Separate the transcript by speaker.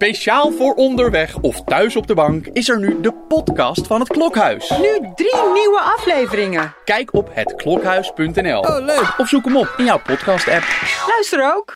Speaker 1: Speciaal voor onderweg of thuis op de bank is er nu de podcast van het Klokhuis.
Speaker 2: Nu drie nieuwe afleveringen.
Speaker 1: Kijk op hetklokhuis.nl
Speaker 2: leuk.
Speaker 1: of zoek hem op in jouw podcast-app.
Speaker 2: Luister ook.